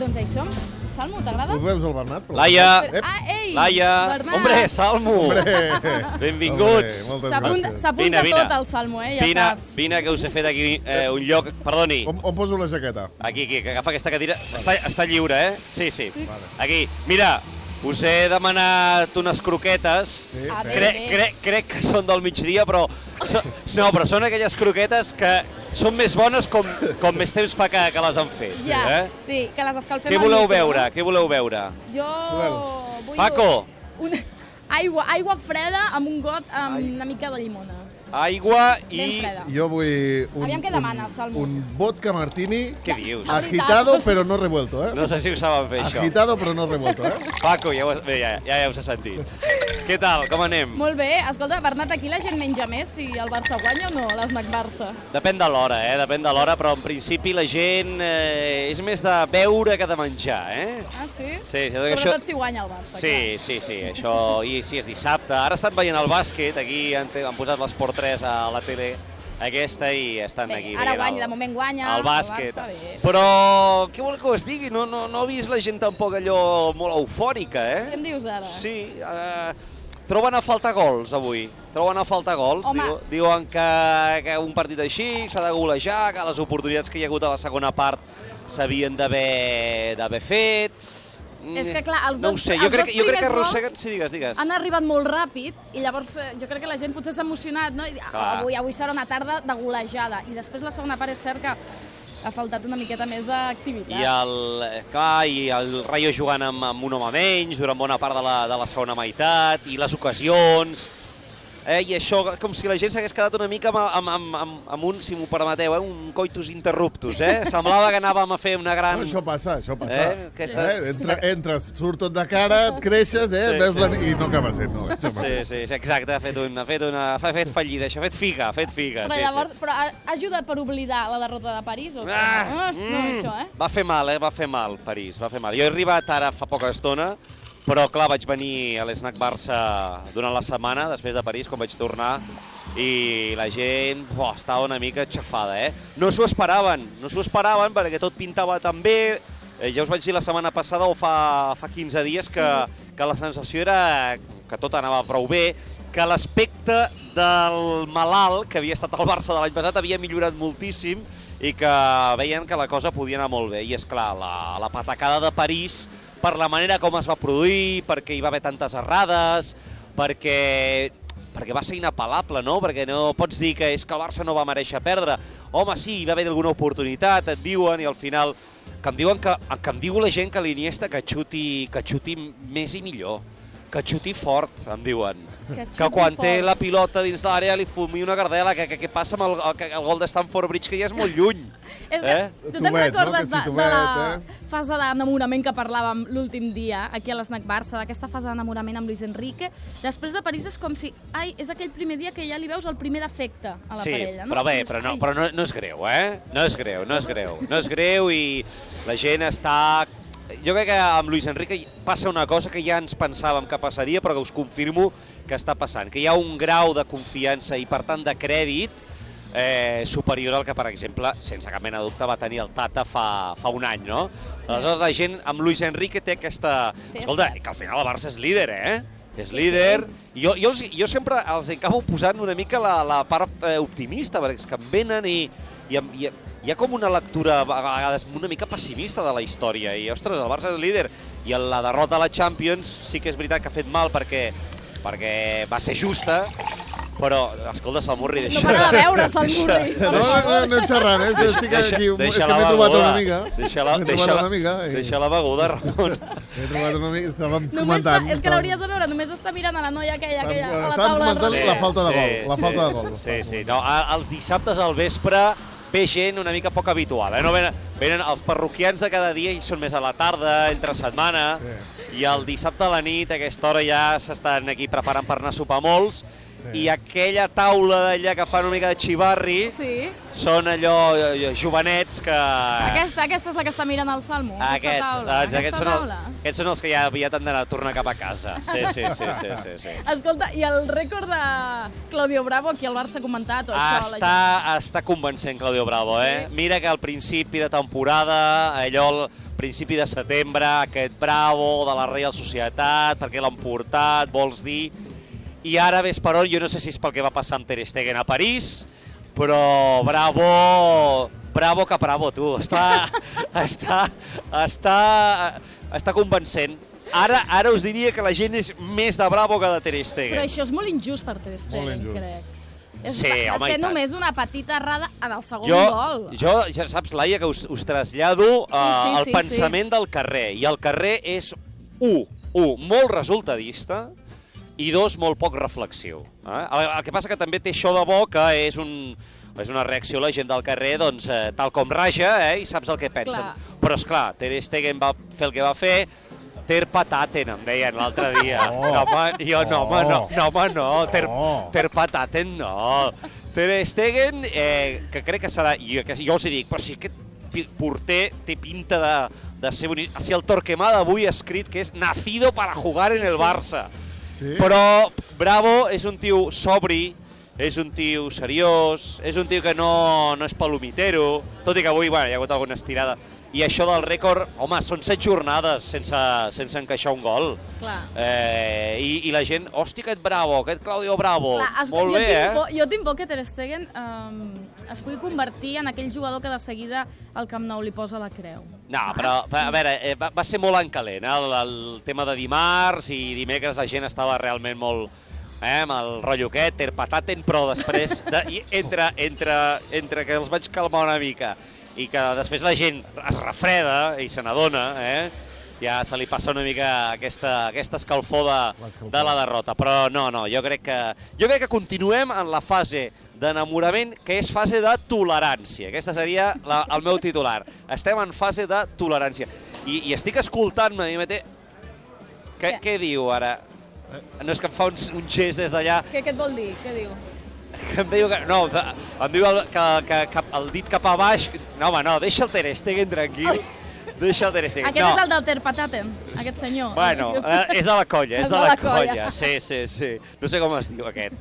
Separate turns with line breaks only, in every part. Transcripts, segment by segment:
Doncs això, Salmo, t'agrada?
Ho veus el Bernat? Però...
Laia,
Però- Ah, ei!
Laia,
Bernat!
hombre, Salmo,
Hombre.
benvinguts.
Hombre, moltes
S'apunta
gràcies.
s'apunta
Vine, vine.
tot el Salmo, eh? Ja
Vine,
saps.
vine, que us he fet aquí eh, un lloc, perdoni,
On, on poso la jaqueta?
aquí, aquí, que agafa aquesta cadira, està, està lliure, eh? Sí, sí, aquí. Mira, us he demanat unes croquetes,
Sí,
A
sí.
veure.
crec, crec, crec que són del migdia, però, so, no, però són aquelles croquetes que són més bones com, com més temps fa que, que les han fet.
Ja,
Eh?
sí, que les escalfem
Què
al
voleu
micro,
veure? Què voleu veure?
no? Jo
Voleu?
vull...
Paco.
Un... Aigua, aigua freda amb un got amb
Ai.
una mica de llimona.
Aigua
Ben
i...
freda.
Jo vull un,
Aviam què demanes,
un,
Salmo.
un vodka martini
Què dius?
Ah.
agitado però no revuelto, eh?
No sé si ho saben fer, això.
Agitado però no revuelto, eh?
Paco, ja, ho, has- bé, ja, ja, ja us he sentit. Què tal? Com anem?
Molt bé, escolta, Bernat, aquí la gent menja més si el Barça guanya o no, l'esnac Barça.
Depèn de l'hora, eh? Depèn de l'hora, però en principi la gent eh, és més de beure que de menjar, eh?
Ah, sí?
Sí, sí,
Sobretot
això-
si guanya el Barça,
Sí, sí, sí, això i si és dissabte. Ara estan veient el bàsquet, aquí han, te- han posat l'Esport 3 a la tele aquesta i estan
Bé,
aquí
ara
veient
guanya,
el,
de moment guanya,
el bàsquet.
el Barça, bé.
Però què vol que us digui? No, no, no he vist la gent tampoc allò molt eufòrica, eh?
Què em dius ara?
Sí, eh, troben a faltar gols avui. Troben a faltar gols.
Home.
Diu, diuen que, que un partit així s'ha de golejar, que les oportunitats que hi ha hagut a la segona part s'havien d'haver d'haver fet. Mm,
És que, clar, els
no ho
dos-
sé,
els
jo crec,
dos
jo crec que
primers gols
arrosseguen... Sí, digues, digues.
han arribat molt ràpid i llavors eh, jo crec que la gent potser s'ha emocionat, no? I, ah,
Clar.
avui, avui serà una tarda de golejada. I després la segona part és cert que ha faltat una miqueta més d'activitat.
I el, eh, clar, i el Rayo jugant amb, amb un home menys durant bona part de la, de la segona meitat, i les ocasions... Eh, I això, com si la gent s'hagués quedat una mica amb, amb, amb, amb, amb un, si m'ho permeteu, eh, un coitus interruptus, eh? Semblava que anàvem a fer una gran...
No, això passa, això passa.
Eh?
Eh?
Aquesta-
Entra, entres, surt tot de cara, et creixes, eh?
Sí,
Sí, Veus sí.
sí.
La... i no acaba sent. No, eh? això
Sí, sí, sí, exacte, ha fet, un, ha fet, una, ha fet fallida, això, ha fet figa, ha fet figa.
Però
sí,
llavors,
sí.
però ha ha ajudat per oblidar la derrota de París? O què?
Ah,
no, no, això, eh?
Va fer mal, eh? Va fer mal, París, va fer mal. Jo he arribat ara fa poca estona, però clar, vaig venir a l'Snac Barça durant la setmana, després de París, quan vaig tornar, i la gent bo, estava una mica xafada, eh? No s'ho esperaven, no s'ho esperaven perquè tot pintava tan bé. Eh, ja us vaig dir la setmana passada o fa, fa 15 dies que, que la sensació era que tot anava prou bé, que l'aspecte del malalt que havia estat al Barça de l'any passat havia millorat moltíssim i que veien que la cosa podia anar molt bé. I és clar, la, la patacada de París, per la manera com es va produir, perquè hi va haver tantes errades, perquè perquè va ser inapel·lable, no? Perquè no pots dir que és que el Barça no va mereixer perdre. Home, sí, hi va haver alguna oportunitat, et diuen, i al final... Que em diuen que, que em diu la gent que l'Iniesta que xuti, que xuti més i millor. Que xuti fort, em diuen.
Que
Que
xuti
quan té
fort.
la pilota dins l'àrea li fumi una gardela, que, que, que passa amb el, que el gol de Stamford Bridge, que ja és molt lluny.
És que,
Eh?
Tu te'n
Tuet, no?
recordes
Que sí,
de, de
Tuet,
la
eh?
fase d'enamorament que parlàvem l'últim dia aquí a l'Snac Barça, d'aquesta fase d'enamorament amb Luis Enrique? Després de París és com si... Ai, és aquell primer dia que ja li veus el primer defecte a la
sí,
parella, no?
però bé, però no,
Ai,
però no, no és greu, eh? No és greu, no és greu. No és greu i la gent està... Jo crec que amb Luis Enrique passa una cosa que ja ens pensàvem que passaria, però que us confirmo que està passant, que hi ha un grau de confiança i, per tant, de crèdit eh, superior al que, per exemple, sense cap mena de dubte, va tenir el Tata fa, fa un any, no? Aleshores, la gent amb Luis Enrique té aquesta...
Sí, és
Escolta,
cert.
que al final el Barça és líder, eh? És
Sí,
líder,
sí.
i Jo, jo, els, jo sempre els acabo posant una mica la, la part eh, optimista, perquè és que em venen i, i, em- i hi ha com una lectura a vegades una mica pessimista de la història. I, ostres, el Barça és líder. I en la derrota a la Champions sí que és veritat que ha fet mal perquè, perquè va ser justa, però, escolta, Salmurri,
No
deixa...
para de veure's el
deixa-
Murri.
No, no, no, anem xerrant, eh? Estic aquí, és que
la
m'he trobat
beguda.
una amiga.
Deixa la,
M'he trobat
deixa, la,
una amiga. i-
deixa la beguda, Ramon.
M'he trobat una amiga, estàvem
Només fa,
comentant.
és que l'hauries de veure, només està mirant a la noia aquella, aquella a la
Estàvem
taula.
comentant
rodona.
Doncs la falta de gol, la falta de gol.
Sí, sí. No, a- els dissabtes al vespre ve gent una mica poc habitual. Eh? No venen, venen els parroquians de cada dia i són més a la tarda, entre setmana,
Sí.
i el dissabte a la nit, a aquesta hora ja s'estan aquí preparant per anar a sopar molts, i aquella taula d'allà que fan una mica de xivarri
Sí.
són allò eh, jovenets que...
Aquesta, aquesta és la que està mirant el Salmo, aquesta
Aquests,
taula.
doncs, aquests,
aquesta
són el,
taula.
aquests són els que ja aviat han d'anar a tornar cap a casa. Sí, sí, sí, sí, sí, sí.
Escolta, i el rècord de Claudio Bravo, aquí al Barça ha comentat, o això, la gent-
Està, està convencent Claudio Bravo, eh?
Sí.
Mira que al principi de temporada, allò al principi de setembre, aquest Bravo de la Real Societat, perquè l'han portat, vols dir... I ara ves per on, jo no sé si és pel que va passar amb Ter Stegen a París, però Bravo... Bravo que bravo, tu. Està, està, està, està convencent. Ara ara us diria que la gent és més de bravo que de Ter Stegen.
Però això és molt injust per Ter
Molt
Stegen,
injust.
crec.
Sí,
va,
home,
va
i
ser
tant.
només una petita errada en el segon gol.
Jo, ja saps, Laia, que us, us trasllado uh,
sí,
al
sí,
pensament del carrer. I el carrer és, un, un, molt resultadista i dos, molt poc reflexiu. Eh? El, el que passa que també té això de bo que és un és una reacció a la gent del carrer, doncs, eh, tal com raja, eh, i saps el que pensen.
Clar.
Però, és clar, Ter Stegen va fer el que va fer, Ter pataten, em deien l'altre dia.
Oh.
No, home, jo, no, home, no,
Oh.
no, home, no, Ter,
Oh.
Ter Pataten, no. Ter Stegen, eh, que crec que serà... Jo, que, jo els hi dic, però si aquest pi- porter té pinta de, de ser bonic... Si el Torquemada avui ha escrit que és nacido para jugar en el Barça.
Sí?
Però Bravo és un tio sobri, és un tio seriós, és un tio que no, no és palomitero, tot i que avui bueno, hi ha hagut alguna estirada. I això del rècord, home, són set jornades sense, sense encaixar un gol.
Clar.
Eh, i, I la gent, hòstia, aquest Bravo, aquest Claudio Bravo,
Clar, es,
molt
jo,
bé,
tinc
eh?
por, jo tinc por que Ter Stegen um, es pugui convertir en aquell jugador que de seguida al Camp Nou li posa la creu.
No, però, a veure, eh, va, va ser molt en calent, eh, el, el tema de dimarts i dimecres la gent estava realment molt eh, amb el rotllo aquest, ter pataten, però després, de, i entre, entre, entre que els vaig calmar una mica i que després la gent es refreda i se n'adona, eh, ja se li passa una mica aquesta, aquesta escalfor de,
L'escalfor.
de la derrota. Però no, no, jo crec que, jo crec que continuem en la fase d'enamorament, que és fase de tolerància. Aquesta seria la, el meu titular. Estem en fase de tolerància. I, i estic escoltant-me a mi mateix... Què,
Què?
què diu ara? No és que em fa un, un gest des d'allà
Què, què et vol dir? Què diu?
que em diu que... No, que- em diu el, que, que, que el dit cap a baix... No, home, no, deixa el Ter Stegen tranquil. Deixa el Ter Stegen.
Aquest
no.
és el del Ter Pataten, aquest senyor.
Bueno, eh, és de la colla, és de la colla.
colla.
Sí, sí, sí. No sé com es diu aquest.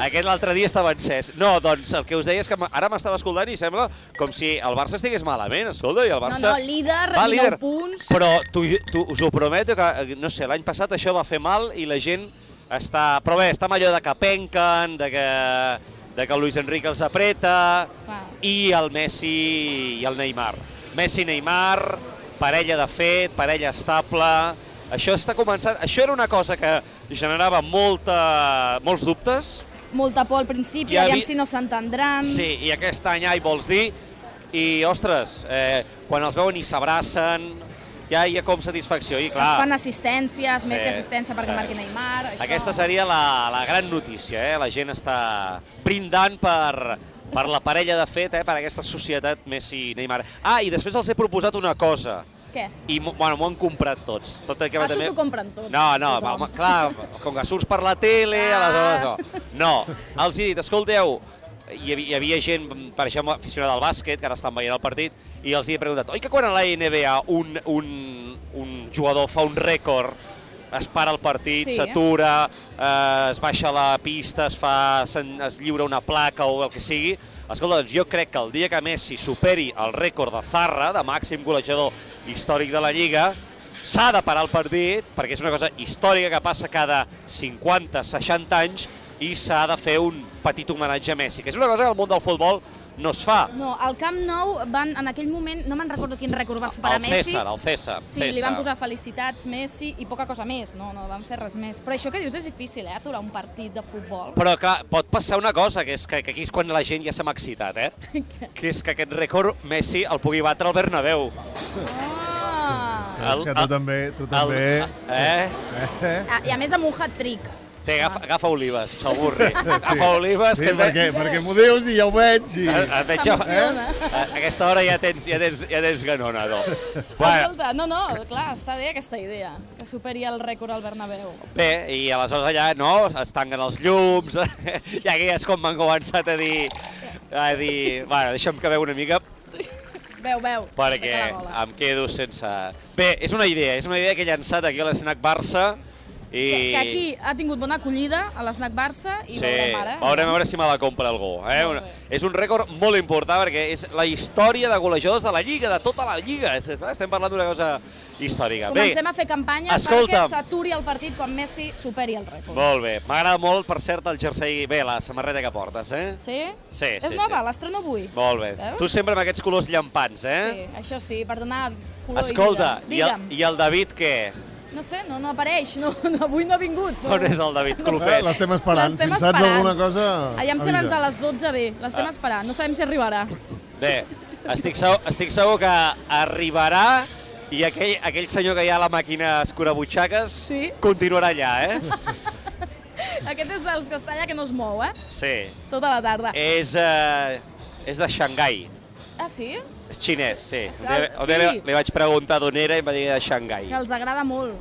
Aquest l'altre dia estava encès. No, doncs el que us deia és que m- ara m'estava escoltant i sembla com si el Barça estigués malament, escolta, i el Barça...
No, no, líder, 19 punts.
Però tu, tu, us ho prometo que, eh, no sé, l'any passat això va fer mal i la gent està... Però bé, està amb allò de que penquen, de que, de que el Luis Enrique els apreta,
Clar.
i el Messi i el Neymar. Messi-Neymar, parella de fet, parella estable... Això està començant... Això era una cosa que generava molta, molts dubtes.
Molta por al principi,
Hi ha
aviam
vi-
si no s'entendran.
Sí, i aquest any, ai, vols dir... I, ostres, eh, quan els veuen i s'abracen, ja hi ha com satisfacció. I, clar,
Es fan assistències, Messi
Sí.
assistència perquè
Sí.
marqui Neymar. Això...
Aquesta seria la, la gran notícia, eh? La gent està brindant per, per la parella de fet, eh? per aquesta societat Messi-Neymar. Ah, i després els he proposat una cosa.
Què?
I, m'ho- bueno, m'ho han comprat tots. Tot i que
Ah, tu t'ho compren tot.
No, no,
Tothom.
home, clar, com que surts per la tele,
Ah.
aleshores no. No, els he dit, escolteu, hi havia, hi havia gent, per exemple, aficionada al bàsquet, que ara estan veient el partit, i els he preguntat, oi que quan a la NBA un, un, un jugador fa un rècord, es para el partit,
Sí.
s'atura, eh, es baixa a la pista, es, fa, se'n- es lliura una placa o el que sigui. Escolta, doncs jo crec que el dia que Messi superi el rècord de Zarra, de màxim golejador històric de la Lliga, s'ha de parar el partit, perquè és una cosa històrica que passa cada 50-60 anys, i s'ha de fer un petit homenatge a Messi, que és una cosa que al món del futbol no es fa.
No, al Camp Nou van, en aquell moment, no me'n recordo quin rècord va superar
el
Messi.
César, el César.
Sí,
César.
li van posar felicitats, Messi, i poca cosa més, no, no van fer res més. Però això que dius és difícil, eh, aturar un partit de futbol.
Però clar, pot passar una cosa, que és que, que aquí és quan la gent ja se m'ha excitat, eh? que és que aquest rècord Messi el pugui batre al Bernabéu.
Ah!
És que tu també, tu també...
eh?
Eh?
Ah, I a més amb un hat-trick.
Té, agafa, agafa olives, s'avorri. Agafa olives,
Sí,
que et ve- Ah,
perquè, perquè m'ho dius i ja ho veig. I...
Et, et veig jo.
S'emociona.
A a aquesta hora ja tens, ja tens, ja tens ganona, no? Bueno,
Escolta, no, no, clar, està bé aquesta idea, que superi el rècord al Bernabéu.
bé, i aleshores allà, no?, es tanquen els llums, i aquí és com m'han començat a dir... A dir... Bueno, deixa'm que veu una mica,
Veu, veu,
perquè
aixeca la bola.
em quedo sense... Bé, és una idea, és una idea que he llançat aquí a l'escenac Barça, i...
Que, que aquí ha tingut bona acollida a l'Snac Barça i veurem ara. eh?
veurem a veure si me la compra algú. Eh?
Molt
Una,
bé.
és un rècord molt important perquè és la història de golejadors de la Lliga, de tota la Lliga. És- Estem parlant d'una cosa històrica.
Comencem a fer campanya
escolta'm.
perquè s'aturi el partit quan Messi superi el rècord.
Molt bé. M'agrada molt, per cert, el jersei... Bé, la samarreta que portes, eh?
Sí?
Sí,
És
sí,
nova,
sí.
l'estreno avui.
Molt bé.
Veus?
Tu sempre amb aquests colors llampants, eh?
Sí, això sí, per donar color
Escolta,
i
i
vida.
el, i el David què?
No sé, no, no apareix, no, no, avui no ha vingut. No.
On és el David
Eh,
Clopés?
L'estem esperant. Si
L'estem
en saps
esperant.
alguna cosa,
Allà em sé abans de les 12 bé, l'estem
Ah.
esperant, no sabem si arribarà.
Bé, estic segur, estic segur que arribarà i aquell, aquell senyor que hi ha a la màquina escurabutxaques
Sí.
continuarà allà, eh?
Aquest és dels que està allà que no es mou, eh?
Sí.
Tota la tarda.
És, eh, és de Xangai.
Ah, sí?
És xinès, sí.
Sí.
Un dia, un dia li, li vaig preguntar d'on era i em va dir de Xangai.
Que els agrada molt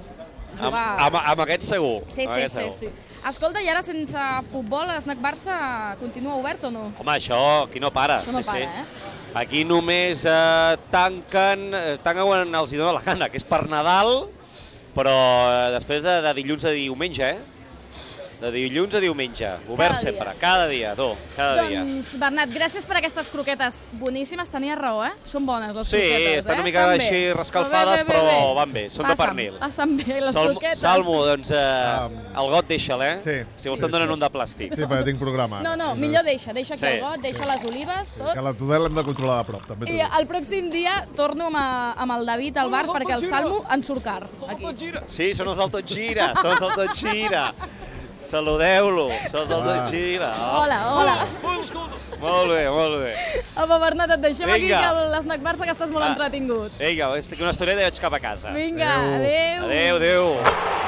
Amb,
jugar.
amb, amb aquest segur.
Sí,
amb
sí,
aquest
sí, sí. Escolta, i ara sense futbol, l'Snac Barça continua obert o no?
Home, això aquí no para.
Això no
sí,
para, eh?
sí. Aquí només eh, tanquen, eh, tanquen quan els hi dóna la gana, que és per Nadal, però eh, després de, de dilluns a diumenge, eh? De dilluns a diumenge, obert
dia.
sempre, cada dia, tu, cada dia.
doncs, Bernat, gràcies per aquestes croquetes. Boníssimes, tenies raó, eh? Són bones, les
Sí,
croquetes,
estan
eh?
una mica
bé.
així rescalfades, però van bé, són de
Passen,
pernil.
Passen bé, les
Salmo,
croquetes.
Salmo, doncs, eh,
Ah.
el got deixa'l, eh?
Sí.
Si vols
Sí,
te'n donen
sí.
un de plàstic.
Sí, perquè tinc programa.
No, no, millor deixa, deixa aquí
Sí.
el got, deixa les olives, tot.
Que la Tudel l'hem de controlar de prop, també. t'ho
I
dic.
el pròxim dia torno amb, a, amb el David al bar perquè el Salmo ens surt car. Aquí.
Sí, són els del tot gira, són els del tot gira. Saludeu-lo, són els del tot gira.
Hola,
Ah.
hola.
Molt bé, molt bé.
Home, Bernat, et deixem aquí
Vinga.
que l'Snac Barça que estàs molt
Ah.
entretingut.
Vinga, estic una estoneta i vaig cap a casa.
Vinga,
Adéu.
adéu.
Adéu, adéu.